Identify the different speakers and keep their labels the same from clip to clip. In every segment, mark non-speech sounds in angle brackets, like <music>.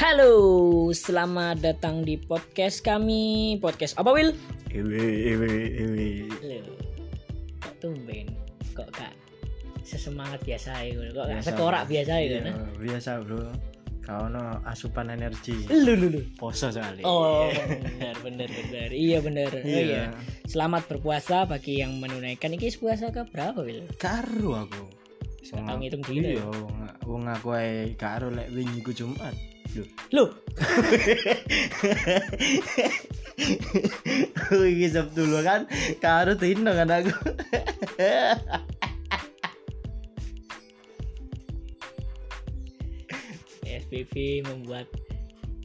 Speaker 1: Halo, selamat datang di podcast kami. Podcast apa, Will?
Speaker 2: Ewe, ewe, ewe.
Speaker 1: Loh, kok tumben? Kok kak sesemangat biasa ya? Kok kak
Speaker 2: Biasa,
Speaker 1: sekorak
Speaker 2: Bro.
Speaker 1: biasa ya?
Speaker 2: Iya,
Speaker 1: Nah.
Speaker 2: Biasa bro. Kau no asupan energi.
Speaker 1: Lu, lu, lu.
Speaker 2: Poso soalnya.
Speaker 1: Oh, benar, benar, benar. Iya, benar. Oh, iya. Selamat berpuasa bagi yang menunaikan. Ini puasa ke berapa, Will?
Speaker 2: Karu aku. Wong-
Speaker 1: tau ngitung dulu ya?
Speaker 2: Iya, wong- wong aku ae karu lek wingi ku Jumat. <laughs> Loh,
Speaker 1: Loh,
Speaker 2: iki Sabtu lho kan karu tino kan aku. <laughs>
Speaker 1: PSBB membuat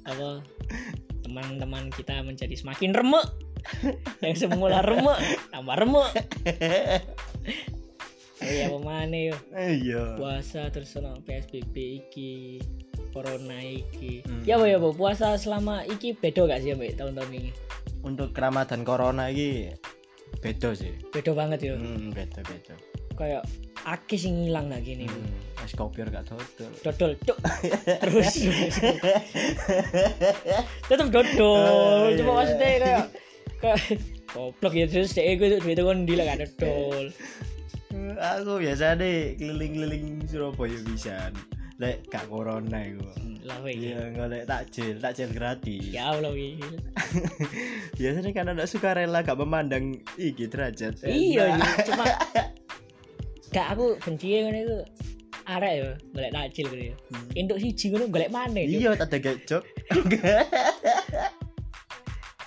Speaker 1: apa teman-teman kita menjadi semakin remek <laughs> yang semula remek tambah remek iya pemane yo
Speaker 2: Iya.
Speaker 1: puasa terus ono PSBB iki corona iki
Speaker 2: Hmm.
Speaker 1: ya apa ya apa puasa selama iki beda gak sih mbak tahun-tahun ini
Speaker 2: Untuk Ramadan Corona iki beda sih.
Speaker 1: beda banget yo
Speaker 2: Hmm, beda beda.
Speaker 1: kayak akeh sing hilang lagi nih
Speaker 2: Hmm, es kopi ora gak dodol.
Speaker 1: dodol cuk terus tetep dodol
Speaker 2: Eh, iya,
Speaker 1: cuma
Speaker 2: iya.
Speaker 1: maksudnya kayak kayak goblok ya terus deh gue duit kan di lah dodol
Speaker 2: aku biasa deh keliling-keliling Surabaya bisa lek gak corona iku
Speaker 1: Hmm, lah weh
Speaker 2: iya golek takjil takjil gratis
Speaker 1: ya Allah weh
Speaker 2: biasanya kan anak suka rela gak memandang iki derajat
Speaker 1: iya iya. cuma gak aku benci ya kan itu arek ya golek takjil gitu ya
Speaker 2: Hmm.
Speaker 1: induk siji ngono golek mana
Speaker 2: iya tak ada gejok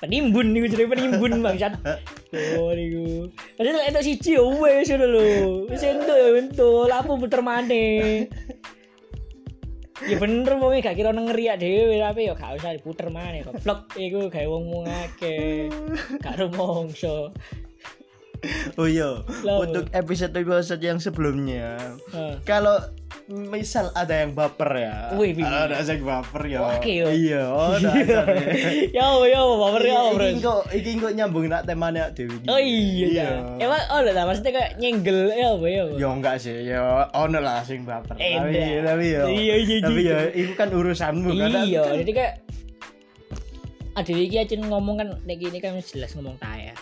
Speaker 1: penimbun niku jadi penimbun bangsat oh niku padahal lek entuk siji ya wis ngono lho wis entuk ya entuk lapo puter maneh ya bener wong gak kira ngeriak dhewe tapi ya gak usah diputer maneh goblok ya, iku gawe wong mung akeh gak rumongso
Speaker 2: oh iya
Speaker 1: Lah.
Speaker 2: untuk episode episode yang sebelumnya
Speaker 1: Hah.
Speaker 2: kalau misal ada yang baper ya
Speaker 1: Wih, wih.
Speaker 2: kalau ada yang baper ya
Speaker 1: Wah, oke, yo.
Speaker 2: iya oh ada
Speaker 1: ya apa, ya apa, <laughs> baper ya apa, bro
Speaker 2: Iki kok iki kok nyambung nak temane Dewi.
Speaker 1: oh iya ya emang oh lho maksudnya kayak nyenggel ya apa ya apa
Speaker 2: Ya enggak sih, ya ono lah sing baper.
Speaker 1: Eh,
Speaker 2: tapi
Speaker 1: enggak.
Speaker 2: tapi ya.
Speaker 1: Iya, iya,
Speaker 2: Tapi
Speaker 1: iya.
Speaker 2: ya itu kan urusanmu kan.
Speaker 1: iya
Speaker 2: Kan-
Speaker 1: jadi kayak ada iki aja ngomong kan nek ini kan wis jelas ngomong
Speaker 2: <laughs>
Speaker 1: tae ya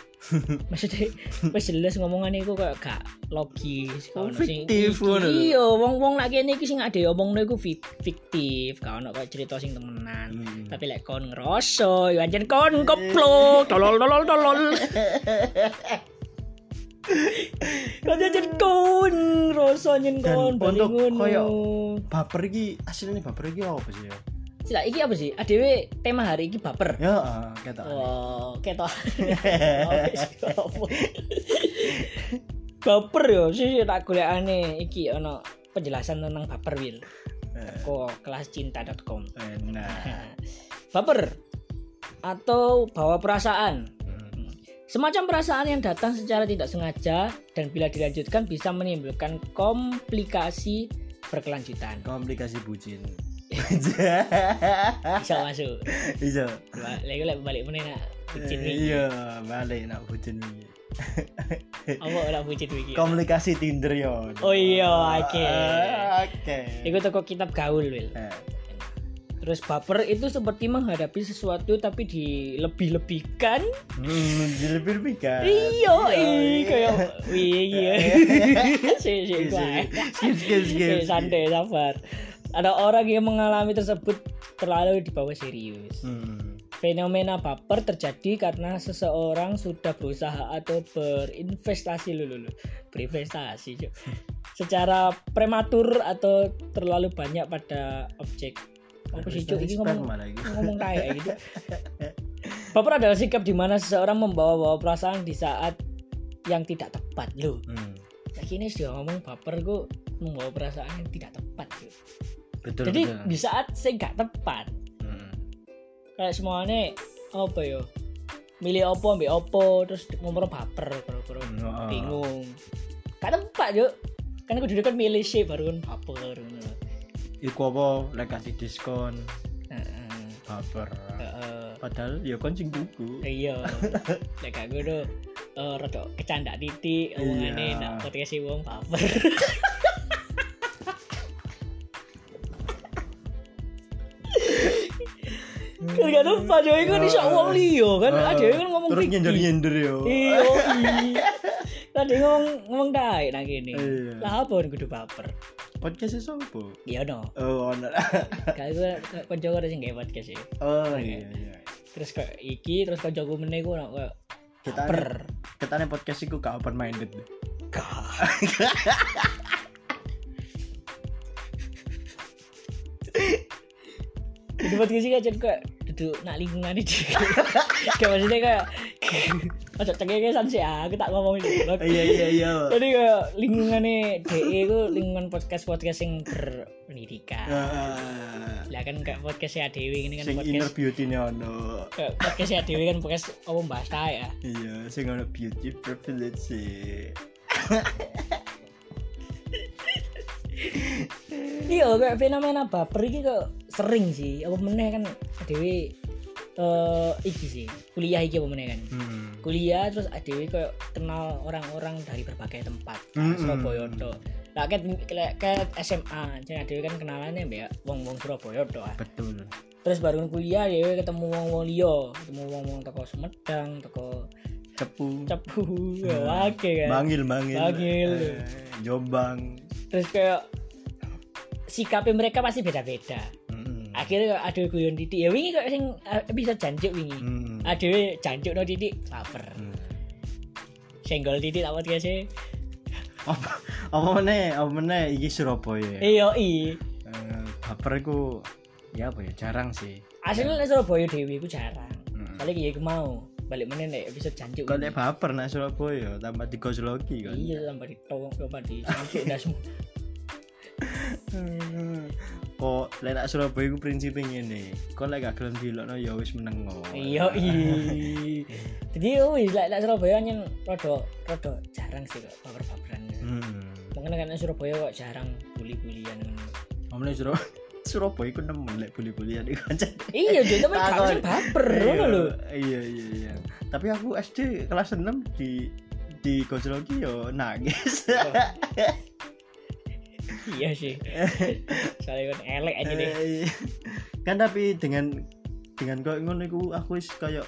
Speaker 1: maksudnya wis jelas ngomongan iku kayak gak logis gak ono sing- iki-
Speaker 2: Fiktif, ngono lho.
Speaker 1: iya wong-wong lagi ini sing ada omongno iku fik- fiktif gak ono kayak cerita sing temenan
Speaker 2: Hmm.
Speaker 1: tapi lek kon ngeroso yo anjen kon
Speaker 2: <laughs>
Speaker 1: goblok tolol tolol tolol kon anjen kon ngeroso anjen
Speaker 2: Dan
Speaker 1: kon bali
Speaker 2: untuk
Speaker 1: ngono.
Speaker 2: koyo- Baper iki aslinya baper iki apa sih ya?
Speaker 1: Sila, iki apa sih? ADW tema hari iki baper.
Speaker 2: Ya, eh, kata.
Speaker 1: Oh. Wow,
Speaker 2: <laughs>
Speaker 1: ketok. Oh, baper yo, sih tak golekane iki ono penjelasan tentang baper Wil.
Speaker 2: Eh,
Speaker 1: Ko kelascinta.com. <laughs>
Speaker 2: Enak.
Speaker 1: Nah, Baper atau bawa perasaan.
Speaker 2: Hmm.
Speaker 1: Semacam perasaan yang datang secara tidak sengaja dan bila dilanjutkan bisa menimbulkan komplikasi berkelanjutan.
Speaker 2: Komplikasi bucin.
Speaker 1: Bisa masuk.
Speaker 2: Iya.
Speaker 1: Lagi lagi balik meneh nak bucin
Speaker 2: Eh,
Speaker 1: iki.
Speaker 2: Iya, balik nak bucin iki.
Speaker 1: Apa ora bucin iki?
Speaker 2: <laughs> Komplikasi Tinder yo.
Speaker 1: Oh iya, oke.
Speaker 2: Eh, Oke.
Speaker 1: Iku toko kitab gaul, Wil.
Speaker 2: Eh,
Speaker 1: Terus baper itu seperti menghadapi sesuatu tapi dilebih-lebihkan.
Speaker 2: Hmm, dilebih-lebih kan.
Speaker 1: Iya, iya kayak iya iya. <laughs> Si si
Speaker 2: Eh. Iya,
Speaker 1: kuai.
Speaker 2: skip, skip, skip,
Speaker 1: Si, santai sabar. Ada orang yang mengalami tersebut terlalu dibawa serius.
Speaker 2: Hmm.
Speaker 1: Fenomena baper terjadi karena seseorang sudah berusaha atau berinvestasi lulu lulu. Berinvestasi. Cuk. Secara prematur atau terlalu banyak pada objek. Apa sih Cuk? Ini ngomong
Speaker 2: Sperma lagi.
Speaker 1: ngomong kayak gitu. Baper adalah sikap di mana seseorang membawa-bawa perasaan di saat yang tidak tepat loh.
Speaker 2: Hmm,
Speaker 1: Lagi ini sudah ngomong baper gue membawa perasaan yang tidak tepat. Loh.
Speaker 2: betul
Speaker 1: Jadi
Speaker 2: betul.
Speaker 1: di saat saya nggak tepat
Speaker 2: Hmm.
Speaker 1: kayak semuanya apa yo milih opo ambil opo terus ngomong baper koro-koro
Speaker 2: Hmm, oh, oh.
Speaker 1: bingung. Gak tempat yo. Kan aku dulu kan milih sih baru kan baper. ngono.
Speaker 2: Iku apa lek kasih diskon
Speaker 1: Heeh.
Speaker 2: baper.
Speaker 1: Heeh.
Speaker 2: Padahal ya kon sing tuku. <laughs>
Speaker 1: iya lek gak gue tuh eh rada kecanda titik omongane
Speaker 2: Iya.
Speaker 1: nak podcast si wong baper
Speaker 2: <laughs>
Speaker 1: Kan Gak lupa Jawa iku iso wong liya kan
Speaker 2: Heeh.
Speaker 1: adewe kan ngomong
Speaker 2: Eh, terus ya.
Speaker 1: fikih.
Speaker 2: nyender-nyender yo.
Speaker 1: Iya. iya. <laughs> Tadi ngomong ngomong taek nang kene.
Speaker 2: Iya.
Speaker 1: Lah apa kudu baper.
Speaker 2: Podcast sopo?
Speaker 1: Iya no.
Speaker 2: Oh, ono.
Speaker 1: Kayak gue konco gue sing gawe podcast ya.
Speaker 2: Oh, iya iya.
Speaker 1: Terus kok iki terus koncoku meneh gue nak kayak
Speaker 2: Kita
Speaker 1: baper.
Speaker 2: ketane podcast iku gak open minded.
Speaker 1: <laughs> Gak. Di podcast iki aja kok duduk nak lingkungan iki. <laughs> Kayak maksudnya kayak ojo cengengesan sih aku tak ngomong iki.
Speaker 2: Iya iya <laughs> iya.
Speaker 1: Jadi kayak lingkungannya DE itu lingkungan podcast podcast yang berpendidikan.
Speaker 2: Ah,
Speaker 1: Lah kan kayak podcastnya Dewi ini kan
Speaker 2: Sing inner
Speaker 1: podcast
Speaker 2: beauty-ne ono.
Speaker 1: kayak podcastnya Dewi kan podcast apa bahas tae ya.
Speaker 2: Iya, sing ono beauty privilege. sih.
Speaker 1: Iya kayak fenomena baper ini kok sering sih. Apa meneh kan Dewi eh iki sih kuliah iki apa meneh kan.
Speaker 2: Hmm.
Speaker 1: Kuliah terus Dewi kayak kenal orang-orang dari berbagai tempat. Nah,
Speaker 2: Mm-mm.
Speaker 1: Surabaya to. Lah kan ke SMA, jadi Dewi kan kenalannya mbak wong-wong Surabaya to. ah.
Speaker 2: Betul.
Speaker 1: terus baru kuliah ya ketemu wong wong liya ketemu wong wong toko Sumedang toko
Speaker 2: Cepu.
Speaker 1: Cepu
Speaker 2: Hmm.
Speaker 1: ya oke kan
Speaker 2: Mangil, mangil.
Speaker 1: Mangil.
Speaker 2: Eh, Jombang.
Speaker 1: terus kayak sikapnya mereka pasti beda beda
Speaker 2: Mm-mm.
Speaker 1: akhirnya ada guyon titik ya wingi kok sing eh, bisa janjuk wingi
Speaker 2: Mm.
Speaker 1: ada janjuk no titik lapar
Speaker 2: Mm.
Speaker 1: senggol titik tak podcast sih
Speaker 2: Apa apa meneh? Apa meneh iki Surabaya?
Speaker 1: iyo i
Speaker 2: Eh, Baper iku ya apa ya jarang sih.
Speaker 1: aslinya nek Surabaya dewi ku jarang
Speaker 2: Mm.
Speaker 1: balik ya iku mau balik mana nek bisa janjuk
Speaker 2: Kok
Speaker 1: wingi.
Speaker 2: nek baper nek Surabaya tambah digosloki kan.
Speaker 1: iya sampai ditolong sampai di
Speaker 2: <laughs>
Speaker 1: janjuk dah semua
Speaker 2: Hmm. Kok lek nak Surabaya iku prinsipe ngene. Kok lek gak gelem dilokno ya wis menengo.
Speaker 1: Iya, i. Jadi oh, wis lek lek Surabaya nyen rada rada jarang sih kok baper-baperan.
Speaker 2: Hmm.
Speaker 1: Mungkin karena Surabaya kok jarang bully-bulian.
Speaker 2: Omne Surabaya Surabaya iku nemen lek buli-bulian iku aja.
Speaker 1: iya, jadi tapi gak
Speaker 2: Takon.
Speaker 1: sing baper ngono lho.
Speaker 2: Iya iya iya. Tapi aku SD kelas 6 di di gosloki yo nangis.
Speaker 1: Iya sih. Soalnya kan elek aja deh.
Speaker 2: Eh, <laughs> kan tapi dengan dengan kok ngono iku aku wis kayak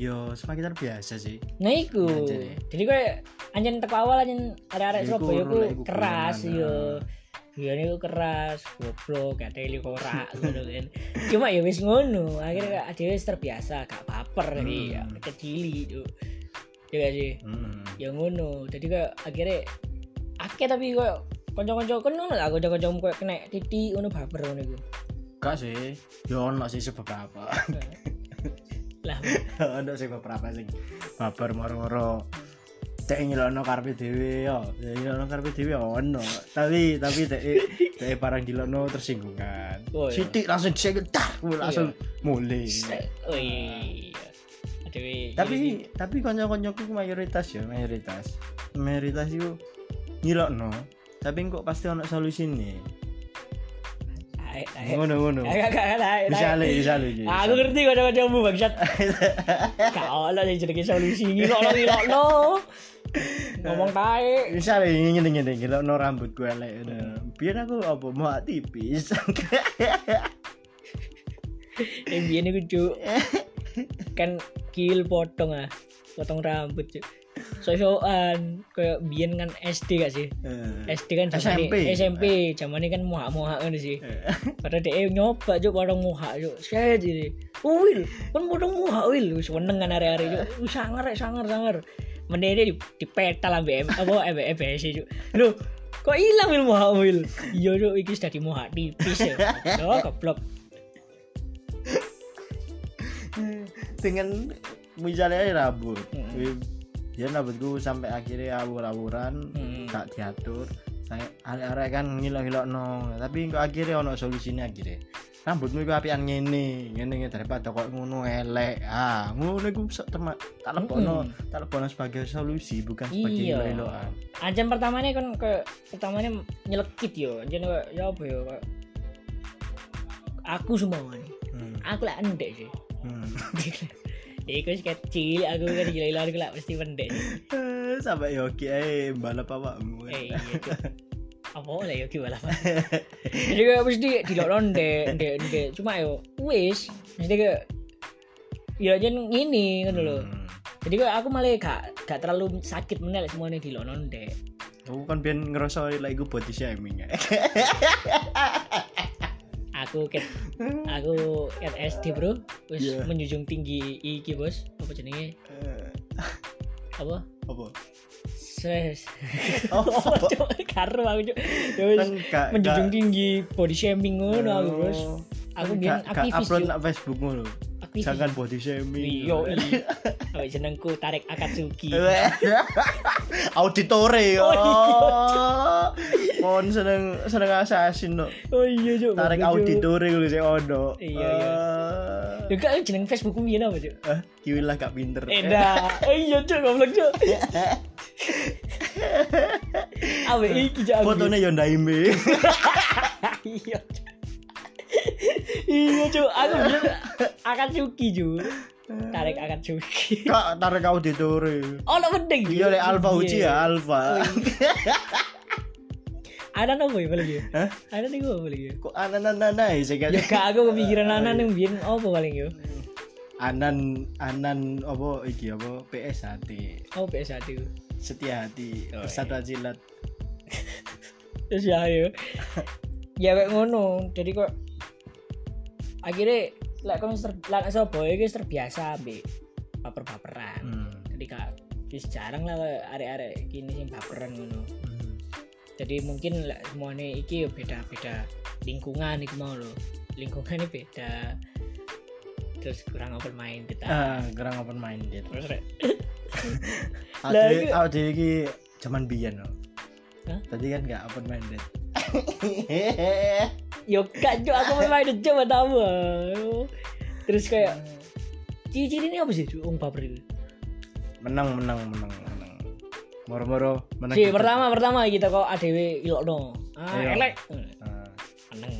Speaker 2: yo semakin terbiasa sih.
Speaker 1: Nah iku.
Speaker 2: Iya, jadi.
Speaker 1: Jadi kayak anjen teko awal anjen arek-arek
Speaker 2: Iku
Speaker 1: Surabaya ku
Speaker 2: lek iku
Speaker 1: keras
Speaker 2: guyonan,
Speaker 1: yo. Guyone ku keras, goblok, gak teli ora <laughs> ngono kan. Cuma ya wis ngono, akhirnya kak dhewe wis terbiasa gak baper
Speaker 2: Nah. Hmm.
Speaker 1: iki ya, kecili itu. Ya gak sih?
Speaker 2: Hmm.
Speaker 1: ya ngono jadi kayak akhirnya akeh tapi kayak konco-konco kan ngono lah konco-konco kayak kena titik ngono baper ngono
Speaker 2: <laughs>
Speaker 1: iku
Speaker 2: Gak sih. Yo Ya ono sih beberapa. Nah.
Speaker 1: lah
Speaker 2: <laughs> ono sih beberapa sing babar moro-moro cek nyelokno karepe dhewe ya. yo. Cek Nyelokno karepe dhewe ya ono. Tapi tapi cek cek parang dilokno tersinggungan.
Speaker 1: Oh, iya.
Speaker 2: Sithik langsung cek langsung mulai.
Speaker 1: oh iya aduh iya.
Speaker 2: tapi tapi konco-koncoku mayoritas ya mayoritas mayoritas itu ngilokno tapi kok pasti ono solusi
Speaker 1: iya.
Speaker 2: nih
Speaker 1: ae ae
Speaker 2: ngono ngono
Speaker 1: ae gak gak ae
Speaker 2: bisa le bisa le iki.
Speaker 1: aku ngerti konco-koncomu
Speaker 2: <laughs>
Speaker 1: bangsat gak ono sing jenenge solusi ngilokno ngilokno ngomong tae
Speaker 2: bisa le ngene ngene ngilokno rambut gue elek ngono. biyen aku apa mau tipis
Speaker 1: yang biyen iku cuk kan kil potong ah potong rambut cuk sok-sokan kayak biyen kan SD gak sih
Speaker 2: Eh,
Speaker 1: SD kan zaman
Speaker 2: SMP.
Speaker 1: SMP zaman kan muhak-muhak kan
Speaker 2: Eh,
Speaker 1: sih padahal dia nyoba juga potong muhak juga saya jadi wil kan potong muhak wil wis meneng kan hari-hari juga wis sangar rek, sangar sangar mendede di, di peta lah BM apa MBS juga lo kok hilang wil muhak wil iya cuk iki sudah di muhak tipis ya lo keblok
Speaker 2: <laughs> dengan misalnya aja rambut
Speaker 1: Mm.
Speaker 2: dia rambutku sampai akhirnya awur-awuran
Speaker 1: Mm.
Speaker 2: tak diatur saya arek-arek kan ngilok-ngilok tapi kok akhirnya ono solusinya akhirnya rambutmu itu apian ngene ngene ngene daripada kok ngono elek ah ngono iku sok tema tak lebono tak lebono sebagai solusi bukan sebagai
Speaker 1: Iya.
Speaker 2: ngilok-ngilokan
Speaker 1: anjir pertamanya kan ke pertamanya nyelekit yo anjir kayak, ya apa yo kayak, aku semua nih
Speaker 2: hmm.
Speaker 1: aku lah endek sih
Speaker 2: <laughs> hmm.
Speaker 1: Ya iku wis kecil, aku kan gila-gila aku lah mesti pendek.
Speaker 2: sampai yoki eh balap apa
Speaker 1: Eh iya. Cuk. <laughs> apa lah ya gimana
Speaker 2: <laughs>
Speaker 1: Pak? jadi kayak mesti di lockdown dek dek dek cuma yo wis jadi kayak ya aja ini kan loh
Speaker 2: Hmm.
Speaker 1: jadi kayak aku malah gak gak terlalu sakit menel semuanya di lockdown dek
Speaker 2: Aku kan biar ngerasa like gue body shaming <laughs> ya.
Speaker 1: aku
Speaker 2: <laughs>
Speaker 1: ket aku RSD bro wis
Speaker 2: Iya.
Speaker 1: menjunjung tinggi iki bos apa jenenge
Speaker 2: Eh,
Speaker 1: apa
Speaker 2: Apa?
Speaker 1: Ses.
Speaker 2: Oh, apa?
Speaker 1: <laughs> Cuk, karo aku cuk. Ya wis,
Speaker 2: Kan gak
Speaker 1: menjunjung
Speaker 2: gak-
Speaker 1: tinggi body shaming ngono aku bos.
Speaker 2: Oh.
Speaker 1: Aku
Speaker 2: Kan
Speaker 1: biyen
Speaker 2: gak- gak
Speaker 1: aktivis,
Speaker 2: upload
Speaker 1: Cuk.
Speaker 2: nak Facebook ngono.
Speaker 1: Aktivis.
Speaker 2: Jangan body shaming.
Speaker 1: Yo, awak jenengku Tarik Akatsuki.
Speaker 2: Weh. <laughs> Auditore yo.
Speaker 1: iya. Oh,
Speaker 2: Mon seneng seneng assassin no.
Speaker 1: Oh iya, Cuk.
Speaker 2: Tarik
Speaker 1: Cuk.
Speaker 2: auditore kuwi sik ono.
Speaker 1: Iya, iya. Ya kan jeneng Facebookku piye apa, Cuk?
Speaker 2: Eh, kiwilah gak pinter.
Speaker 1: Eda. Eh iya, Cuk, goblok, Cuk. Awe iki Cuk. aku.
Speaker 2: Fotone yo <laughs> ndaime.
Speaker 1: Iya. Cuk. Iya, Cuk. Aku bilang Akatsuki, Cuk. Tarik Akatsuki.
Speaker 2: Kak tarik auditore.
Speaker 1: Oh, lo penting. Cuk.
Speaker 2: Iya lek alfa
Speaker 1: Iya.
Speaker 2: uji ya alfa.
Speaker 1: Ada nopo ya paling ya?
Speaker 2: Hah?
Speaker 1: Ada nih gue paling ya?
Speaker 2: Kok anan-anan ae sik
Speaker 1: Ya kak aku kepikiran
Speaker 2: Iya,
Speaker 1: anak yang biar apa paling ya?
Speaker 2: anan anan apa iki apa PS hati
Speaker 1: Oh PS1
Speaker 2: setia hati
Speaker 1: Oh,
Speaker 2: bersatu jilat
Speaker 1: Terus ya ya <laughs> Ya kayak ngono Jadi kok Akhirnya Lek kon ter Lek sobo ya guys terbiasa ambil Baper-baperan Jadi kak Terus jarang lah kayak arek-arek gini sih baperan ngono Jadi mungkin lek semuanya iki ya beda-beda Lingkungan iki mau loh Lingkungannya beda Terus kurang open minded kita
Speaker 2: ah kurang open minded
Speaker 1: Terus rek Lah,
Speaker 2: Ade,
Speaker 1: itu-
Speaker 2: ade iki zaman biyen no.
Speaker 1: Hah?
Speaker 2: Tadi kan gak open minded.
Speaker 1: <laughs> Yo kak Cuk, aku main minded coba tahu Terus kayak ciri-ciri ini apa sih Om baper itu
Speaker 2: menang menang menang menang. Moro-moro menang.
Speaker 1: Si
Speaker 2: gitu.
Speaker 1: pertama pertama kita kok ADW ilokno. Ah,
Speaker 2: Iya.
Speaker 1: elek.
Speaker 2: Ah,
Speaker 1: Meneng.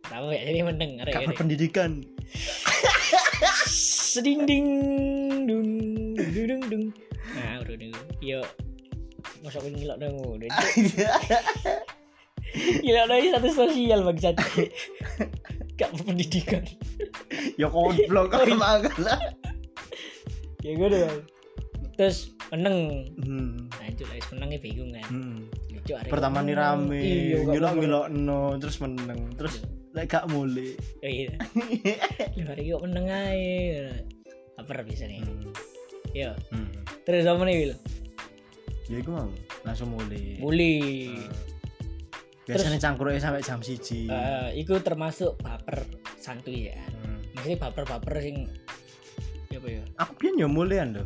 Speaker 1: Pertama ya jadi meneng arek
Speaker 2: gak
Speaker 1: ini. <laughs>
Speaker 2: berpendidikan.
Speaker 1: Seding ding dung dung dung, dung dung. Nah, udah dulu. Yo. Masa aku ngilok dong
Speaker 2: <laughs>
Speaker 1: udah. Ngilok dong ini status sosial bangsat. Gak berpendidikan.
Speaker 2: ya goblok
Speaker 1: Oh, iya.
Speaker 2: banget lah.
Speaker 1: Ya gue dong. Terus meneng.
Speaker 2: Hmm.
Speaker 1: Lanjut lagi menengnya bingung kan.
Speaker 2: Hmm.
Speaker 1: Lucu arek.
Speaker 2: Pertama nih rame,
Speaker 1: Iya, gak
Speaker 2: ngilok
Speaker 1: apa-apa. Iya.
Speaker 2: ngilok no, terus menang, terus lek gak mulai.
Speaker 1: Oh, iya.
Speaker 2: <laughs>
Speaker 1: Lu hari kok meneng ae. Apa bisa nih? Yo.
Speaker 2: Hmm.
Speaker 1: Terus apa nih Wil?
Speaker 2: Ya iku mau langsung mulai.
Speaker 1: Bully.
Speaker 2: Hmm. Biasanya cangkruknya sampai jam siji.
Speaker 1: Eh, iku termasuk baper santuy ya.
Speaker 2: Hmm.
Speaker 1: Maksudnya baper-baper sing ya apa ya?
Speaker 2: aku pian yo mulian lho.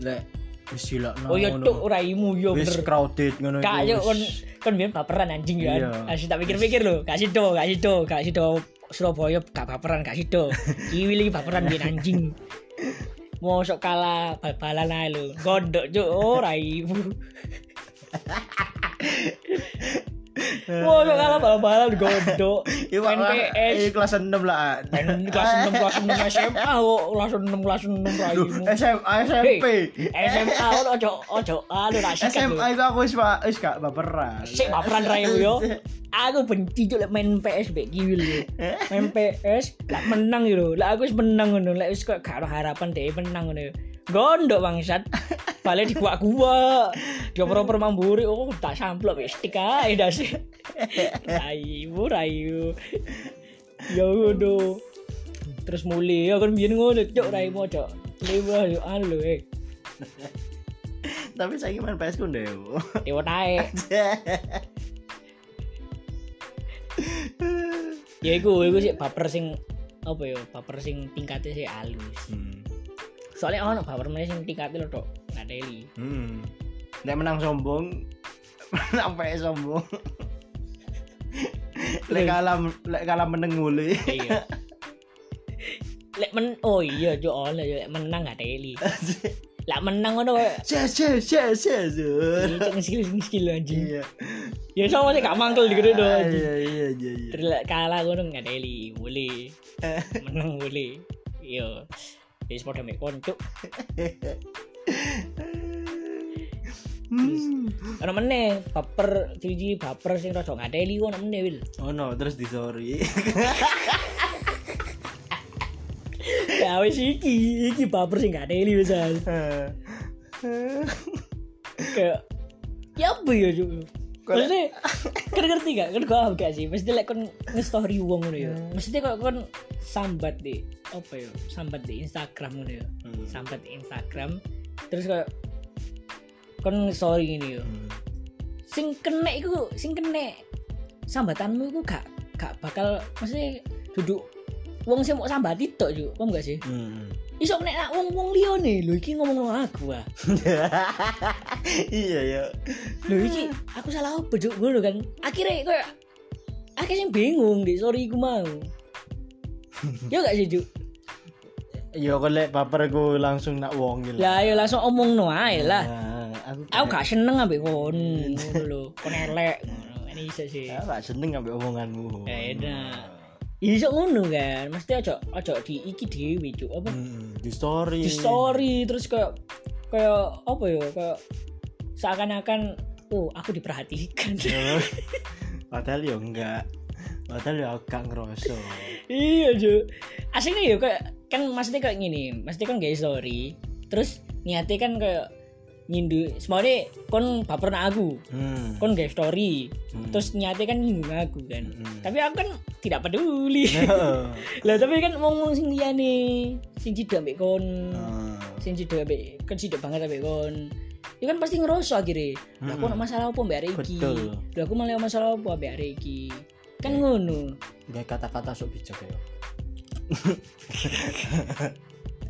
Speaker 2: Lek wis dilokno
Speaker 1: Oh ya
Speaker 2: Nah, ngono.
Speaker 1: tuk ora imu yo
Speaker 2: Wis
Speaker 1: bener.
Speaker 2: crowded ngono iku,
Speaker 1: Kak ya, yo
Speaker 2: wis.
Speaker 1: kon kon biyen baperan anjing ya.
Speaker 2: Iya.
Speaker 1: Asih tak pikir-pikir lho, gak sido, gak sido, gak sido Surabaya gak baperan, gak sido. Kiwi lagi baperan biyen anjing. Mosok kalah bal-balan ae lho. Gondok cuk ora imu. Mosok kalah bal-balan gondok.
Speaker 2: Iku kelas-
Speaker 1: NPS.
Speaker 2: iku kelas 6 lah. ah.
Speaker 1: Dan kelas 6 kelas 6 SMA kok kelas 6 kelas 6
Speaker 2: Duh,
Speaker 1: raimu.
Speaker 2: SMA SMP.
Speaker 1: SMA kan ojo ojo anu tak sikat
Speaker 2: SMA
Speaker 1: lho.
Speaker 2: itu aku wis pa- wis gak baperan.
Speaker 1: Sik baperan raimu yo. Aku benci juk lek main PS mbek kiwil yo. Main PS lek menang yo. lho. Lek aku wis menang ngono, lek wis kok gak ada harapan dhek menang ngono yo. Gondok bangsat. Balik dikuak-kuak. Dioper-oper mamburi, oh tak samplok wis stik ae dah sih. Raimu rayu. Ya ngono. Terus muli ya kan biyen ngono cok raimu cok. Lewah yo anu lho, eh.
Speaker 2: Tapi saiki main PS ku ndewo.
Speaker 1: Dewa naik.
Speaker 2: <laughs>
Speaker 1: ya iku iku sih baper sing apa ya baper sing tingkatnya sih halus
Speaker 2: Hmm.
Speaker 1: soalnya ono baper meneh sing tingkatnya lo tok nggak teli
Speaker 2: Hmm. Nek menang sombong, <laughs> menang PS sombong. <laughs> Lek kalah lek kalah meneng <laughs> ngule.
Speaker 1: iya lek men oh iya jo ono jo lek menang nggak
Speaker 2: <laughs>
Speaker 1: teli lek menang Iya, ono kayak
Speaker 2: Yes yes yes yes. yes.
Speaker 1: cek skill skill anjing
Speaker 2: Iya.
Speaker 1: ya sama sih gak mangkel di gitu
Speaker 2: Ah,
Speaker 1: dong
Speaker 2: Iya iya iya iya.
Speaker 1: terus lek kalah ngono nggak teli
Speaker 2: <laughs>
Speaker 1: boleh menang boleh iya jadi sepeda mek koncuk Terus
Speaker 2: Hmm.
Speaker 1: ana meneh baper cuci baper sing rada ngateli ku ana meneh Wil.
Speaker 2: oh no terus di sorry <laughs>
Speaker 1: Ya wis iki, iki baper sing ngateli wis. Al.
Speaker 2: Hmm,
Speaker 1: Kayak ya apa ya Cuk? Maksudnya, kan ngerti gak? Kan gue paham gak sih? Maksudnya like kan nge-story wong ngono ya Maksudnya kok kan sambat di Apa ya? Sambat di Instagram ngono ya
Speaker 2: Hmm.
Speaker 1: Sambat di Instagram Terus kayak Kan story ini ya sing kena iku sing kena sambatanmu iku gak gak bakal mesti duduk wong sing mau sambati tok juk paham gak sih
Speaker 2: Hmm.
Speaker 1: iso kena nak wong wong liya nih lho iki ngomong sama aku ah
Speaker 2: iya ya
Speaker 1: lho iki aku salah apa juk ngono kan akhirnya koyo akhirnya sing bingung deh sorry iku mau ya gak sih juk
Speaker 2: yo Iya, kok lek baper ku langsung nak wong gitu
Speaker 1: lah ya langsung omong no ae lah
Speaker 2: Nah, aku
Speaker 1: aku gak seneng ambek kon ngono lho kon elek ngono ini iso sih
Speaker 2: Aku gak seneng ngambil omonganmu
Speaker 1: Ya, enak. iso ngono kan mesti ojo ojo di iki dhewe juk apa
Speaker 2: Hmm, di story
Speaker 1: di story terus kayak kayak apa ya kayak seakan-akan oh aku diperhatikan
Speaker 2: <laughs> Iya. padahal yo enggak padahal yo agak ngerasa
Speaker 1: <laughs> iya jo aslinya ya kayak kan maksudnya kayak gini maksudnya kan gak story terus niatnya kan kayak nyindu semuanya kon baper nak aku
Speaker 2: hmm.
Speaker 1: kon gak story
Speaker 2: Hmm.
Speaker 1: terus niatnya kan nyinggung aku kan
Speaker 2: Hmm.
Speaker 1: tapi aku kan tidak peduli
Speaker 2: <laughs> Heeh.
Speaker 1: lah tapi kan ngomong sing liyane sing tidak ambek kon
Speaker 2: Ah.
Speaker 1: sing cedek ambek kan cedek banget ambek kon ya kan pasti ngerosok akhirnya lah aku
Speaker 2: Mm-mm.
Speaker 1: nak masalah apa mbak Reiki
Speaker 2: Betul.
Speaker 1: lah aku malah masalah apa mbak Reiki kan ngono
Speaker 2: Gak kata-kata sok bijak ya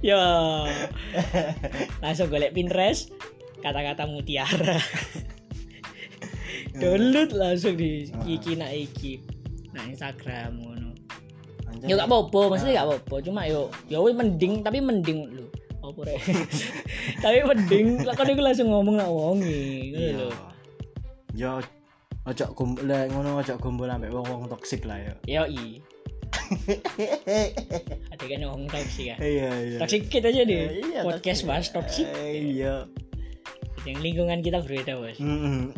Speaker 1: ya <laughs> langsung golek Pinterest kata-kata <laughs> mutiara download langsung di iki nak iki nah Instagram ngono
Speaker 2: Anjay.
Speaker 1: ya gak apa-apa maksudnya gak apa-apa cuma yo yo weh, mending tapi mending lu apa rek <laughs> tapi mending lah kan aku langsung ngomong nak wongi ngono
Speaker 2: Iya. Ya,
Speaker 1: lho.
Speaker 2: Yo ojo kumpul lek ngono ojo kumpul ambek wong-wong toksik lah ya. yo. <laughs>
Speaker 1: Yoi. Adegan ngomong toksik ya.
Speaker 2: Iya iya.
Speaker 1: Toksik kita aja
Speaker 2: Eh,
Speaker 1: deh.
Speaker 2: iya,
Speaker 1: ya? Podcast bahas toksik.
Speaker 2: Eh, Iya. Hmm.
Speaker 1: Yang lingkungan kita berbeda, Bos.
Speaker 2: Mm-mm.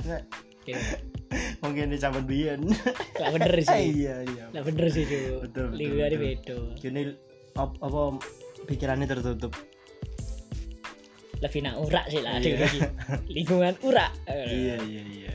Speaker 1: Oke.
Speaker 2: <laughs> Mungkin ini zaman biyen.
Speaker 1: Lah bener sih.
Speaker 2: Iya iya.
Speaker 1: Lah bener sih, Cuk.
Speaker 2: Betul, betul,
Speaker 1: Lingkungannya
Speaker 2: betul.
Speaker 1: beda.
Speaker 2: Gini op- apa pikirannya tertutup.
Speaker 1: Lebih nak urak sih lah
Speaker 2: Iya.
Speaker 1: adegan iki. Lingkungan urak. Eh,
Speaker 2: Iya iya iya. iya.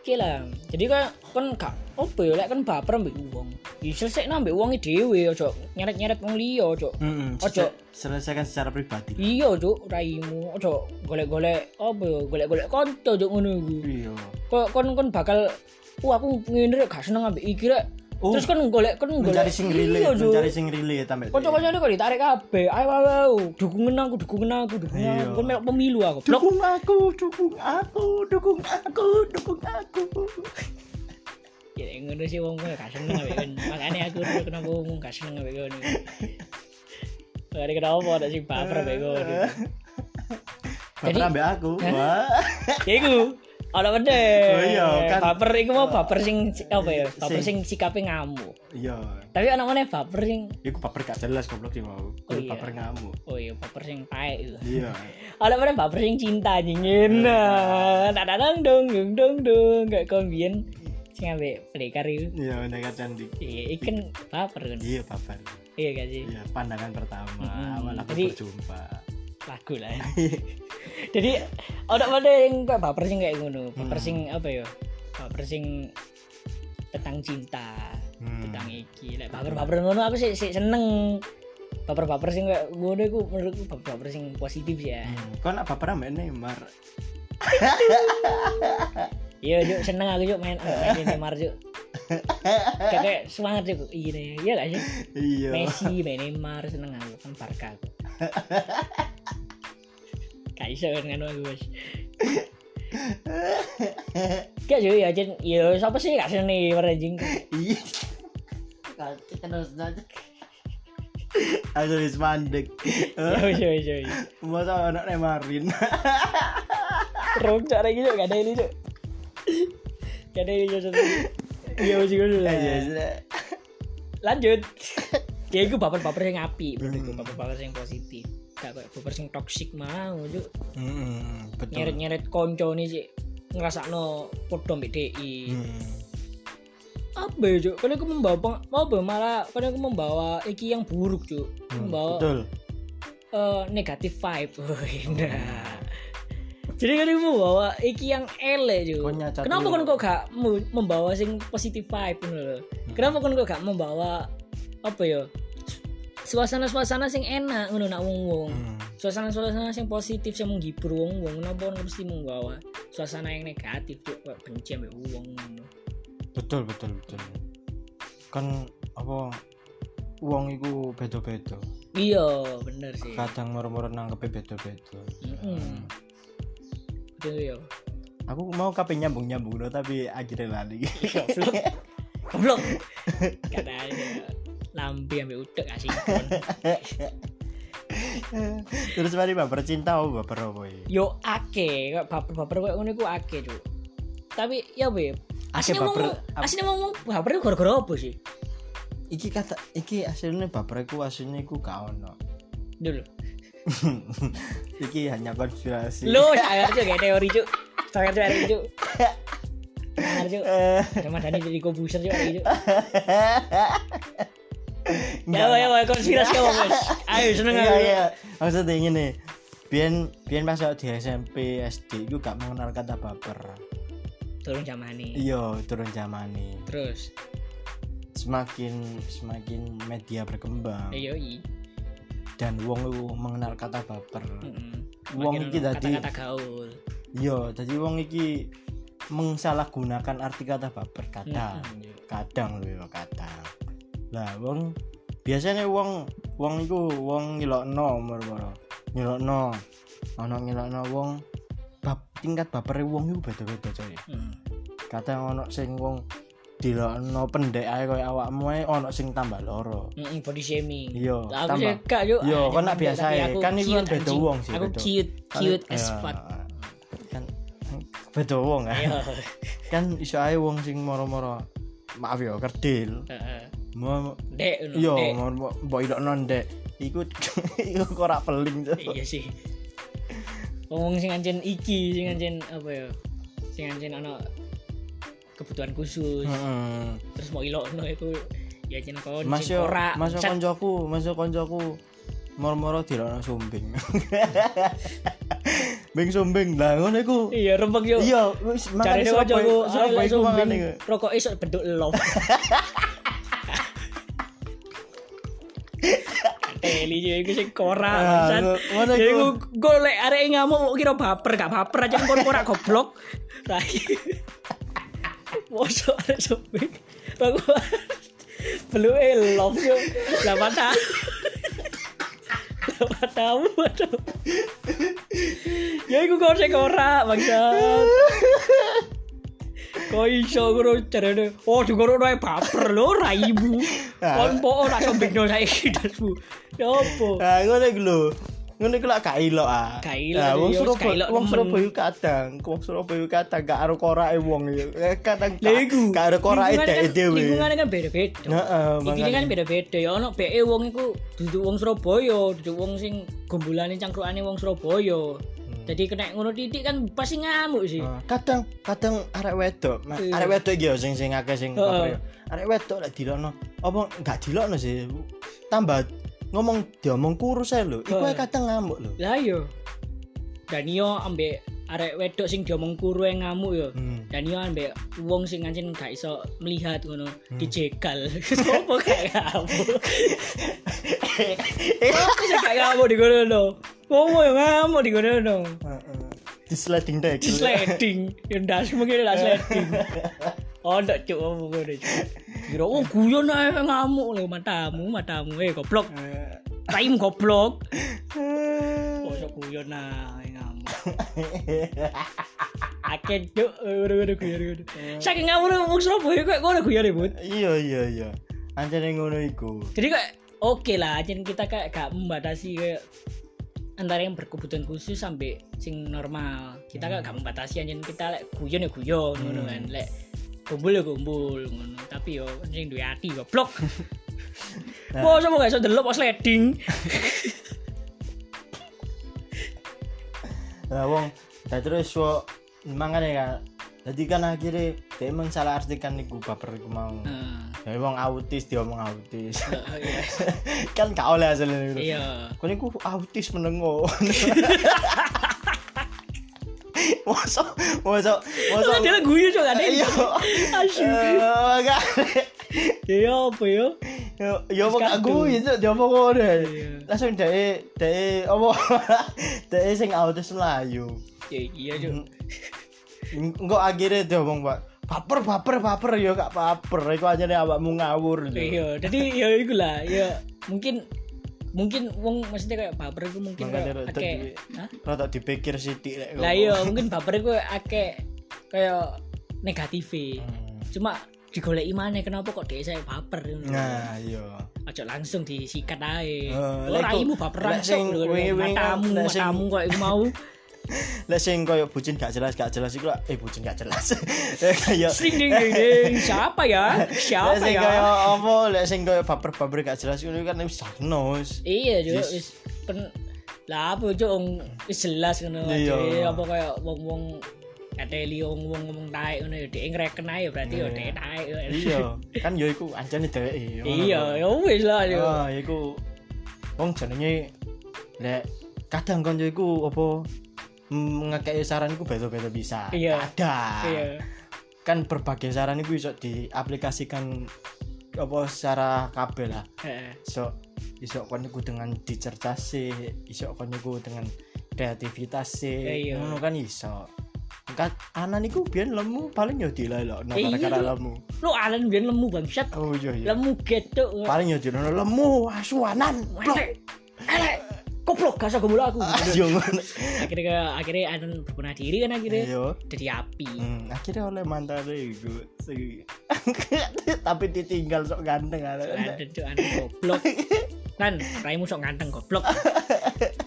Speaker 1: Oke lah. Jadi kan kan gak opo ya lek kan baper ambek wong. Ya selesaino ambek wong dhewe ojo nyeret-nyeret wong liya, ojo
Speaker 2: Mm-mm.
Speaker 1: Ojo.
Speaker 2: selesaikan secara pribadi.
Speaker 1: Iya, Cuk, raimu. Ojo golek-golek apa ya, golek-golek konco Cuk ngono iku.
Speaker 2: Iya.
Speaker 1: kok kon kon bakal wah aku ngene rek gak seneng ambek iki rek
Speaker 2: Oh.
Speaker 1: terus kon golek kon golek
Speaker 2: Mencari sing relate,
Speaker 1: Iya, Jo.
Speaker 2: mencari sing relate ambek.
Speaker 1: kocok-kocoknya kok ditarik kabeh ayo ayo ayo dukungan aku dukungan aku dukungan aku
Speaker 2: Iya.
Speaker 1: kon melok pemilu aku blok
Speaker 2: Dukung aku, dukung aku, dukung aku, dukung aku.
Speaker 1: ya ngono sih wong kowe gak seneng ambek kon makane aku dulu kenapa wong gak seneng ambek kon Hari kenapa ada sing baper ambek kon
Speaker 2: <laughs> Baper
Speaker 1: Jadi-
Speaker 2: ambek aku. Wah.
Speaker 1: Ya iku ana meneh.
Speaker 2: Oh iya, kan.
Speaker 1: Baper iku mau baper sing apa ya? Baper sing
Speaker 2: Sing-
Speaker 1: sikape ngamuk.
Speaker 2: Iya.
Speaker 1: Tapi ana meneh baper sing
Speaker 2: Iku baper gak jelas goblok sih mau. Kudu
Speaker 1: iya.
Speaker 2: baper ngamuk.
Speaker 1: oh iya baper sing paek iku.
Speaker 2: Iya.
Speaker 1: Ada mana baper sing cinta dingin. Tak dadang dong dong dong dong gak kombien. Sing ambek pelekar itu.
Speaker 2: Iya, mendengar cantik.
Speaker 1: Iya, ikan baper kan.
Speaker 2: Iya, baper.
Speaker 1: Iya gak sih?
Speaker 2: Iya, pandangan pertama
Speaker 1: Mm-mm.
Speaker 2: awal aku
Speaker 1: Jadi-
Speaker 2: berjumpa.
Speaker 1: Lagu
Speaker 2: <laughs>
Speaker 1: lah. Jadi ada mana yang kayak baper sing kayak ngono. Baper
Speaker 2: Hmm.
Speaker 1: sing apa ya? Baper sing tentang cinta,
Speaker 2: Hmm.
Speaker 1: tentang iki. Lek baper-baper ngono aku sih sih seneng. Baper-baper sing kayak ngono iku menurutku baper-baper sing positif ya.
Speaker 2: Hmm. Kau nak baper ambek Neymar?
Speaker 1: Iya, Juk, seneng aku Juk main main Neymar Juk. Kakek semangat Juk ini. Iya gak sih?
Speaker 2: Iya.
Speaker 1: Messi, main Neymar seneng aku kan Barca aku. Gak iso kan kan aku, Bos. Gak Juk ya, Jen. Iya, siapa sih gak seneng Neymar anjing?
Speaker 2: Iya. Terus aja. Aku wis mandek.
Speaker 1: Ya wis ya, wis ya, wis.
Speaker 2: Masa anak <laughs> Neymarin.
Speaker 1: Rongcok lagi Juk, gak ada ini Juk. Gak ada ini Juk. satu. Iya, wis ngono lah.
Speaker 2: iya.
Speaker 1: Lanjut. Ya iku baper-baper yang apik, menurutku baper-baper yang positif. gak kayak baper sing toksik mau cuk
Speaker 2: Mm-mm, betul.
Speaker 1: nyeret-nyeret konco nih sih ngerasakno podo mbek DI
Speaker 2: Mm.
Speaker 1: apa ya cuk kan aku membawa peng- apa malah kan aku membawa iki yang buruk cuk
Speaker 2: Mm,
Speaker 1: membawa
Speaker 2: betul.
Speaker 1: eh, negatif vibe <laughs> Wih, nah jadi kan aku membawa iki yang elek
Speaker 2: Kau
Speaker 1: cuk
Speaker 2: nyacat
Speaker 1: kenapa
Speaker 2: dulu.
Speaker 1: kan kok gak mu- membawa sing positif vibe ngono lho kenapa kan kok gak membawa apa ya suasana-suasana sing enak ngono nak wong-wong
Speaker 2: Mm.
Speaker 1: suasana-suasana yang positif yang menghibur wong wong kenapa orang mesti membawa suasana yang negatif tuh kayak benci ambek wong ngono.
Speaker 2: betul betul betul kan apa uang itu beda-beda
Speaker 1: iya bener sih
Speaker 2: kadang moro-moro nangkepnya beda-beda Mm.
Speaker 1: Mm-mm. betul ya
Speaker 2: aku mau kape nyambung-nyambung loh tapi akhirnya
Speaker 1: <laughs>
Speaker 2: lali <laughs>
Speaker 1: goblok goblok katanya lambi ambek utek asikon
Speaker 2: terus mari baper cinta oh baper apa ya
Speaker 1: yo ake kayak baper-baper kayak ngono iku ake tuh tapi ya be aslinya mau
Speaker 2: baper- ap-
Speaker 1: aslinya mau baper itu gara-gara apa sih
Speaker 2: iki kata iki hasilnya baper aku hasilnya aku gak ono
Speaker 1: dulu
Speaker 2: <laughs> iki hanya konspirasi
Speaker 1: lo saya juga kayak teori cuk saya juga teori cuk Sangar, Cuk.
Speaker 2: Eh,
Speaker 1: Sama Dani jadi kobuser juga gitu. Ya,
Speaker 2: enggak,
Speaker 1: ya, ya, konspirasi kamu, Mas. Ayo seneng
Speaker 2: Iya,
Speaker 1: aku.
Speaker 2: iya. Maksudnya gini, Bian, bian pas aku di SMP, SD itu gak mengenal kata
Speaker 1: Iya.
Speaker 2: baper.
Speaker 1: Tolong jamani.
Speaker 2: Iya, turun zaman nih.
Speaker 1: Terus,
Speaker 2: Semakin semakin media berkembang
Speaker 1: ayo i.
Speaker 2: dan wong itu mengenal kata baper.
Speaker 1: Mm-mm.
Speaker 2: Wong
Speaker 1: Makin
Speaker 2: iki
Speaker 1: ono
Speaker 2: dadi
Speaker 1: kata-kata gaul.
Speaker 2: iya, dadi wong iki mengsalahgunakan arti kata baper kadang.
Speaker 1: Mm-mm, Cuk.
Speaker 2: Kadang lho ya, kadang. Lah wong biasanya wong wong iku wong ngilokno moro-moro. Ngilokno. Ono ngilokno wong bab tingkat bapere wong iku beda-beda coy.
Speaker 1: Mm.
Speaker 2: kadang ono sing wong dilokno pendek ae koyo awakmu ae ono sing tambah loro.
Speaker 1: Mm-mm, body shaming.
Speaker 2: Iya,
Speaker 1: Lah, aku
Speaker 2: tambah.
Speaker 1: suka, Cuk.
Speaker 2: Iya,
Speaker 1: Ah,
Speaker 2: kok nak
Speaker 1: tapi
Speaker 2: biasa ya.
Speaker 1: aku
Speaker 2: Kan iku
Speaker 1: cute,
Speaker 2: beda
Speaker 1: anjing.
Speaker 2: wong sih,
Speaker 1: Aku
Speaker 2: beda.
Speaker 1: cute, cute as
Speaker 2: Ya,
Speaker 1: fuck. <laughs>
Speaker 2: Kan beda wong kan.
Speaker 1: Ayo.
Speaker 2: Kan iso ae wong sing moro-moro maaf ya kerdil.
Speaker 1: Heeh.
Speaker 2: Mo
Speaker 1: Iya, Dek, no,
Speaker 2: yo
Speaker 1: dek.
Speaker 2: mo- mo- mbok ilokno ndek. Iku <laughs> iku kok ora peling tuh.
Speaker 1: Iya sih. Ngomong sing anjen iki, sing anjen apa ya? Sing anjen ono kebutuhan khusus.
Speaker 2: Hmm. Heeh.
Speaker 1: terus mau ilokno itu ya jen kon
Speaker 2: Mas
Speaker 1: jin
Speaker 2: yo,
Speaker 1: ora
Speaker 2: mas yo
Speaker 1: Cet,
Speaker 2: koncoku, mas yo koncoku moro-moro dilokno sumbing. <laughs> Bing sumbing lah ngono iku.
Speaker 1: iya rembek yo
Speaker 2: iya wis
Speaker 1: cari
Speaker 2: makane
Speaker 1: dewa jago
Speaker 2: Surabaya Surabaya iku makane
Speaker 1: rokok esok bentuk love
Speaker 2: <laughs>
Speaker 1: Teli yo iku sing
Speaker 2: Ah,
Speaker 1: kora bangsat.
Speaker 2: ngono- ngono
Speaker 1: Ya
Speaker 2: iku.
Speaker 1: iku golek arek e ngamuk kok kira baper gak baper aja kon ora
Speaker 2: <laughs>
Speaker 1: goblok. Rai. <laughs> Mosok arek sobek. Rokok <laughs> Belum eh love yo. Lah mata. Lah matamu aduh. Ya iku kok sing ora bangsat. Kok iso karo jarene. Oh digorok nae baper lho raimu.
Speaker 2: Ah.
Speaker 1: Kon po ora sombengno saiki dasmu. Ya opo?
Speaker 2: ah ngono iku lho ngono iku lak gak ilok ah
Speaker 1: Gak ilok,
Speaker 2: Lah,
Speaker 1: iya,
Speaker 2: wong
Speaker 1: wis gak
Speaker 2: Surabaya
Speaker 1: ilok
Speaker 2: wong
Speaker 1: nemen.
Speaker 2: Surabaya kadang wong Surabaya kadang gak arek korake wong ya. Eh, kadang
Speaker 1: Lah
Speaker 2: gak
Speaker 1: iku.
Speaker 2: gak arek korake
Speaker 1: lingkungan
Speaker 2: dhek
Speaker 1: kan-
Speaker 2: dhewe
Speaker 1: Lingkungannya kan beda-beda.
Speaker 2: Heeh,
Speaker 1: Iki
Speaker 2: makanya.
Speaker 1: kan beda-beda ya ono BE wong iku duduk wong Surabaya, duduk wong sing gombulane cangkrukane wong Surabaya. Jadi kena ngono titik kan pasti ngamuk sih.
Speaker 2: Hmm. Ah, kadang kadang arek wedok ma-
Speaker 1: Iya.
Speaker 2: arek wedok iki ya sing sing akeh sing
Speaker 1: Heeh.
Speaker 2: apa ya. arek wedok lak dilokno apa gak dilokno sih tambah ngomong diomong kurus ae lho iku
Speaker 1: Heeh.
Speaker 2: ae
Speaker 1: Iya.
Speaker 2: kadang ngamuk lho
Speaker 1: Lah yo. Danio ambek arek wedok sing diomong kuru yang ngamuk yo.
Speaker 2: Hmm.
Speaker 1: Danio ambek wong sing anjen gak iso melihat ngono dijegal. <laughs> Sopo gak ngamuk? Sopo sing gak ngamuk di ngono no? Wong yo ngamuk di ngono no.
Speaker 2: Heeh. di sliding deck
Speaker 1: di sliding yang das mungkin udah sliding oh ndak cuk ngomong ngono cuk kira oh guyon ae ngamuk lho matamu matamu eh goblok
Speaker 2: Eh.
Speaker 1: time goblok oh sok guyon ae
Speaker 2: <laughs>
Speaker 1: ngamuk eh, akeh cuk Eh, ngono ngono guyon ngono
Speaker 2: Eh.
Speaker 1: saking ngamuk lu wong Surabaya kok ngono guyon ribut
Speaker 2: iya iya iya anjane ngono iku
Speaker 1: jadi kok oke lah jadi kita kayak gak membatasi kayak antara yang berkebutuhan khusus sampai sing normal kita
Speaker 2: Hmm.
Speaker 1: kan gak membatasi anjen kita lek guyon ya guyon ngono kan lek kumpul ya kumpul ngono tapi yo sing duwe ati
Speaker 2: <laughs>
Speaker 1: goblok
Speaker 2: Nah.
Speaker 1: Wah, sama gak iso delok pas sliding.
Speaker 2: Nah, wong dah terus wo mangane kan. Jadi kan akhirnya dia emang salah artikan iku baper iku mau.
Speaker 1: Ah,
Speaker 2: Ya wong autis dia omong autis.
Speaker 1: ah, iya.
Speaker 2: <laughs> kan gak oleh hasilnya gitu.
Speaker 1: Iya.
Speaker 2: Kau ini autis menengok. <laughs> Mosok, mosok, mosok.
Speaker 1: Ada lagu ya cok ada.
Speaker 2: Iya.
Speaker 1: Asyik.
Speaker 2: Eh, gak.
Speaker 1: Ya apa ya?
Speaker 2: Yo, yo kok
Speaker 1: Terus
Speaker 2: aku
Speaker 1: kadung.
Speaker 2: itu jompo ngono.
Speaker 1: Iya.
Speaker 2: Langsung dek dek apa? <laughs> Dek sing autis melayu.
Speaker 1: Ya iya cok.
Speaker 2: Mhm. Engko akhirnya dia ngomong, Pak. Baper, baper, baper yo gak baper. Iku aja nih awakmu ngawur. Cuk.
Speaker 1: Iya, jadi ya iku lah, ya mungkin mungkin wong maksudnya kayak baper iku mungkin
Speaker 2: Makanya
Speaker 1: kayak
Speaker 2: rada Ya duwe.
Speaker 1: akeh. Hah?
Speaker 2: Rada dipikir sithik lek.
Speaker 1: Lah
Speaker 2: ngomong. <laughs>
Speaker 1: iya, mungkin baper iku akeh kayak negatif.
Speaker 2: Hmm.
Speaker 1: Cuma digoleki maneh kenapa kok dhek saya baper ngono.
Speaker 2: Nah, iya.
Speaker 1: Aja langsung disikat ae.
Speaker 2: Eh,
Speaker 1: Ora
Speaker 2: lah iku-
Speaker 1: imu baperan
Speaker 2: lah sing
Speaker 1: sok lho.
Speaker 2: wingi-wingi kan,
Speaker 1: Matamu,
Speaker 2: lah sing-
Speaker 1: matamu kok iku mau.
Speaker 2: <laughs> Lek sing koyo bucin gak jelas, gak jelas iku lah. Eh bucin gak jelas. <laughs> Eh, Kayak
Speaker 1: Ding ding ding ding. Siapa ya?
Speaker 2: lek
Speaker 1: Siapa
Speaker 2: sing
Speaker 1: ya?
Speaker 2: koyo apa? Lek sing koyo baper-baper gak jelas iku kan wis diagnos.
Speaker 1: Iya
Speaker 2: Yes.
Speaker 1: juga wis pen lah apa cuk wong wis jelas ngono
Speaker 2: Iya.
Speaker 1: Jadi, apa kaya wong-wong kateli wong-wong ngomong taek ngono ya dhek ngreken ae berarti ya
Speaker 2: Iya.
Speaker 1: dhek taek.
Speaker 2: Iya, kan yo iku anjane dheweke. yo.
Speaker 1: Iya, ya wis lah yo.
Speaker 2: Ah, iku wong jenenge lek kadang kanca iku apa mm, ngekei saran iku beda-beda bisa.
Speaker 1: Iya.
Speaker 2: Kadang.
Speaker 1: Iya.
Speaker 2: Kan berbagai saran iku iso diaplikasikan apa secara kabeh lah.
Speaker 1: Heeh.
Speaker 2: Iso iso kon iku dengan dicerdas sih, iso kon iku dengan kreativitas sih.
Speaker 1: Iya.
Speaker 2: Ngono kan iso. Kan anan iku biyen lemu paling yo dilelokno
Speaker 1: Iya,
Speaker 2: gara-gara
Speaker 1: Cuk.
Speaker 2: lemu.
Speaker 1: Lu alen biyen lemu bangsat.
Speaker 2: Oh iya iya.
Speaker 1: Lemu getuk.
Speaker 2: Paling yo dilelokno lemu asuhanan. blok.
Speaker 1: Elek. Elek. Koplok gak usah bola aku.
Speaker 2: Yo ngono.
Speaker 1: akhirnya ke- akhirnya Anon berbenah diri kan akhirnya
Speaker 2: Iya.
Speaker 1: jadi api.
Speaker 2: Hmm, akhirnya oleh mantan iku sing- <laughs> tapi ditinggal sok ganteng ada.
Speaker 1: Ganteng cuk Anon anu, goblok. Kan raimu sok ganteng goblok.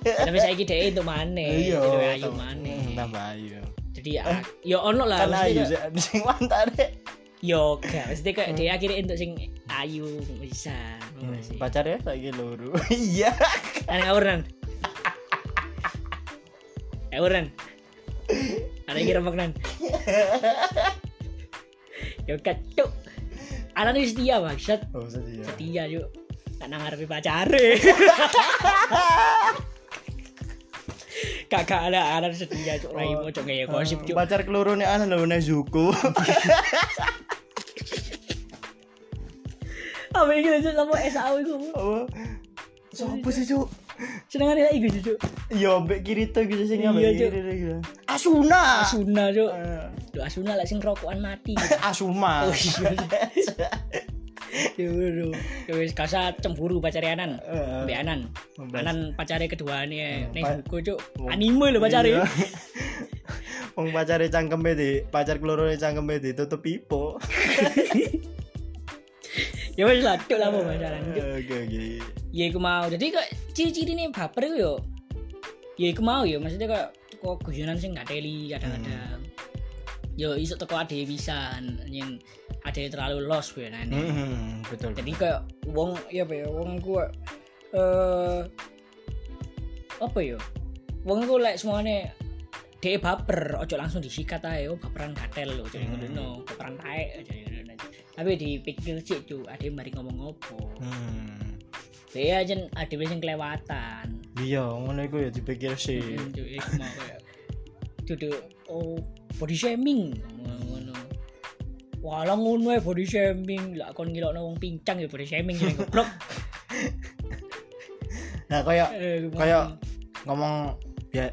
Speaker 1: Tapi saiki dhek itu maneh.
Speaker 2: Iya,
Speaker 1: Jadi ayu
Speaker 2: tam-
Speaker 1: maneh.
Speaker 2: hmm, tambah ayu.
Speaker 1: Jadi ah, ya ono lah
Speaker 2: Kan ayu
Speaker 1: mesti.
Speaker 2: sih, Hmm. sing mantan e.
Speaker 1: Yo gak mesti kayak dhek akhirnya entuk sing ayu bisa. Hmm,
Speaker 2: pacarnya lagi luru. <laughs> Iya.
Speaker 1: Kan ngawur
Speaker 2: <laughs>
Speaker 1: nan. Ngawur nan. Ada kira rembak
Speaker 2: <laughs>
Speaker 1: nan. Yo kacuk. Alan wis setia maksud
Speaker 2: Oh sedih ya.
Speaker 1: setia yuk. Tak nang ngarepe <laughs> pacare. Kakak lah, ah, ada Alan setia cuk raimu cuk ngeye gosip ya, cuk.
Speaker 2: Eh, Pacar kelurune ana lho
Speaker 1: <laughs>
Speaker 2: Nezuko.
Speaker 1: Apa iki lanjut sama SAO iku?
Speaker 2: Apa? Sopo sih, Cuk?
Speaker 1: Senengane lagi iku cuk.
Speaker 2: Yo mbek Kirito gitu sing
Speaker 1: Iya,
Speaker 2: ambek
Speaker 1: Cuk.
Speaker 2: Kirito gitu. Asuna.
Speaker 1: Asuna Ah. cuk.
Speaker 2: Eh,
Speaker 1: Duh Asuna lek sing rokokan <laughs> mati. Oh,
Speaker 2: Asuma.
Speaker 1: iya. Yo yo. Yo wis kasa cemburu pacare Anan.
Speaker 2: Eh,
Speaker 1: Mbak Anan. Anan pacare kedua nih,
Speaker 2: Hmm,
Speaker 1: nih
Speaker 2: pa-
Speaker 1: buku cuk. lah Anime lho ya. pacare.
Speaker 2: Iya. <laughs> Wong pacare cangkeme di, pacar kelorone cangkeme di tutup pipo.
Speaker 1: Ya wis lah cuk lah apa pacaran cuk.
Speaker 2: Eh, Oke oke.
Speaker 1: Ya iku mau. Jadi kok ciri-ciri nih baper iku yo. Ya iku mau yo maksudnya kok kok guyonan sing gak teli
Speaker 2: Hmm.
Speaker 1: kadang-kadang. Yo iso teko ade pisan yen ade terlalu los guyonan.
Speaker 2: Hmm, betul.
Speaker 1: jadi kayak wong ya apa ya wong gua eh apa ya wong gua like semuanya dia baper ojo langsung disikat aja oh baperan katel loh jadi
Speaker 2: Hmm.
Speaker 1: ngono no baperan tae jadi ngono nah. tapi dipikir sih cu ada yang mari ngomong opo
Speaker 2: Hmm.
Speaker 1: dia aja ada yang kelewatan
Speaker 2: Iya, ngono iku ya dipikir sih.
Speaker 1: Itu ya, cuma kayak duduk oh body shaming ngono. Walah ngono ae body shaming. Lah kon ngilokno wong pincang ya body shaming jeneng <laughs> goblok.
Speaker 2: Nah, koyo
Speaker 1: Eh, ngomong.
Speaker 2: koyo ngomong ya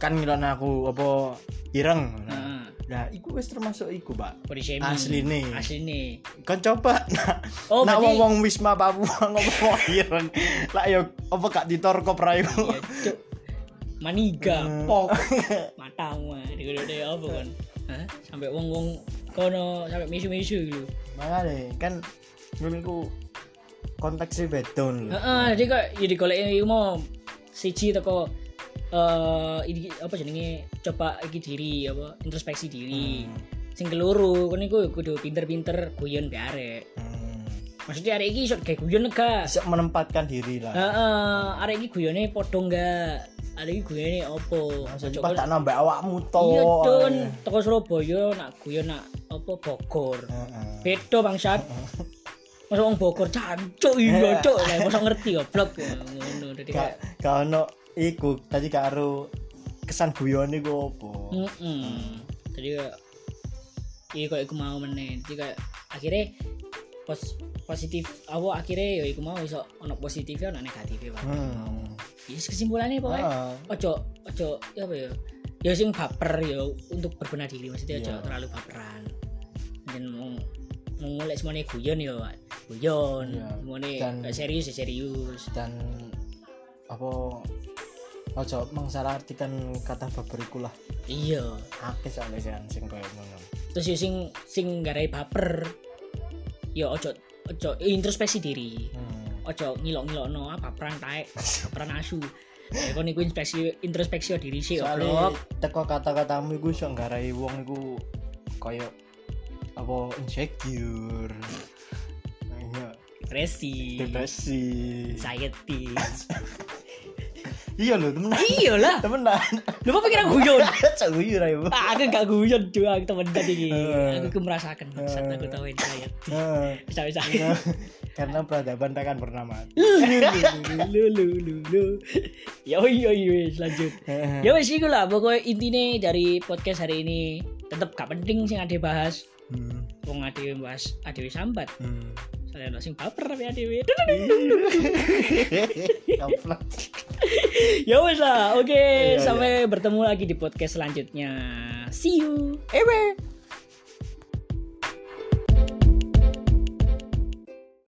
Speaker 2: kan ngilana aku apa ireng. Nah,
Speaker 1: Nah,
Speaker 2: nah iku wis termasuk iku, Pak.
Speaker 1: body shaming.
Speaker 2: Asline.
Speaker 1: Asline.
Speaker 2: Kan coba <laughs> nah,
Speaker 1: Oh,
Speaker 2: nah
Speaker 1: berarti-
Speaker 2: wong-wong Wisma <laughs> Papua ngomong ireng. Lah yo apa gak ditorko prayu.
Speaker 1: Ya, cuk. Maniga, Iya,
Speaker 2: Hmm.
Speaker 1: pok, matamu, dikode apa kan? Hah? Sampai wong-wong kono sampai misu-misu gitu.
Speaker 2: <laughs> Makanya kan menurutku konteksnya betul.
Speaker 1: Heeh, jadi kok ya digoleki mau siji teko eh ini apa jenenge coba iki diri apa introspeksi diri. Sing keloro kan iku kudu pinter-pinter guyon be arek.
Speaker 2: Hmm,
Speaker 1: Maksudnya arek iki iso gawe guyon gak? Iya.
Speaker 2: Bisa menempatkan diri lah.
Speaker 1: Heeh, arek iki guyone padha enggak? Ali gue ini opo.
Speaker 2: Langsung
Speaker 1: Ojo
Speaker 2: Oh, cepat
Speaker 1: kon-
Speaker 2: tak nambah awakmu to.
Speaker 1: Iya Don, teko Surabaya nak guyon nak apa Bogor.
Speaker 2: Heeh.
Speaker 1: Beda bangsat. Masa wong Bogor cancuk iya cuk, lah masa ngerti goblok Ya, ngono dadi
Speaker 2: Gak gak ono iku tadi karo kesan guyone ku opo.
Speaker 1: Hmm. heeh. Jadi kayak iya kayak iku mau meneh. Jadi kayak akhirnya pos positif awak akhirnya ya iku mau iso ono positifnya ono negatifnya Pak.
Speaker 2: Hmm.
Speaker 1: Yes, kesimpulannya pokoknya
Speaker 2: Ah,
Speaker 1: ojo ojo ya apa ya ya sing baper ya untuk berbenah diri maksudnya ojo
Speaker 2: Iya.
Speaker 1: terlalu baperan dan mau mau ngulek semuanya guyon ya Wak. guyon
Speaker 2: Iya.
Speaker 1: semuanya
Speaker 2: Dan-
Speaker 1: gak serius ya serius
Speaker 2: dan apa ojo mengsalahartikan kata baberiku lah.
Speaker 1: iya
Speaker 2: Akeh soalnya sih sing koyo ngono.
Speaker 1: terus ya sing sing garai baper ya ojo ojo introspeksi diri
Speaker 2: Hmm.
Speaker 1: ojo ngilok ngilok no apa peran taek peran asu ya kon iku introspeksi introspeksi diri sih
Speaker 2: soalnya
Speaker 1: goblok
Speaker 2: teko kata-katamu iku iso nggarai wong iku koyo apa insecure Iya,
Speaker 1: depresi
Speaker 2: depresi
Speaker 1: anxiety
Speaker 2: iya lho temenan
Speaker 1: iyalah
Speaker 2: temenan
Speaker 1: lu kok pikir aku guyon
Speaker 2: cak guyu ra
Speaker 1: <laughs>
Speaker 2: ibu
Speaker 1: Ah, aku gak guyon doang temen tadi iki.
Speaker 2: Heeh.
Speaker 1: Aku ku merasakan saat aku tahu saya.
Speaker 2: Heeh,
Speaker 1: Bisa bisa.
Speaker 2: iya. <laughs> karena peradaban takkan pernah mati
Speaker 1: Lu lu lu lu. Ya yo yo lanjut.
Speaker 2: Eh.
Speaker 1: Ya wis iku lah pokoknya intine dari podcast hari ini tetep gak penting sing ade bahas.
Speaker 2: Hmm,
Speaker 1: Wong ade bahas ade wis sambat.
Speaker 2: hmm. <laughs>
Speaker 1: Soalnya ono sing baper tapi ade. wis.
Speaker 2: Kaplak.
Speaker 1: Ya wis lah. Oke,
Speaker 2: Iya,
Speaker 1: sampai bertemu lagi di podcast selanjutnya. See you. Ewe.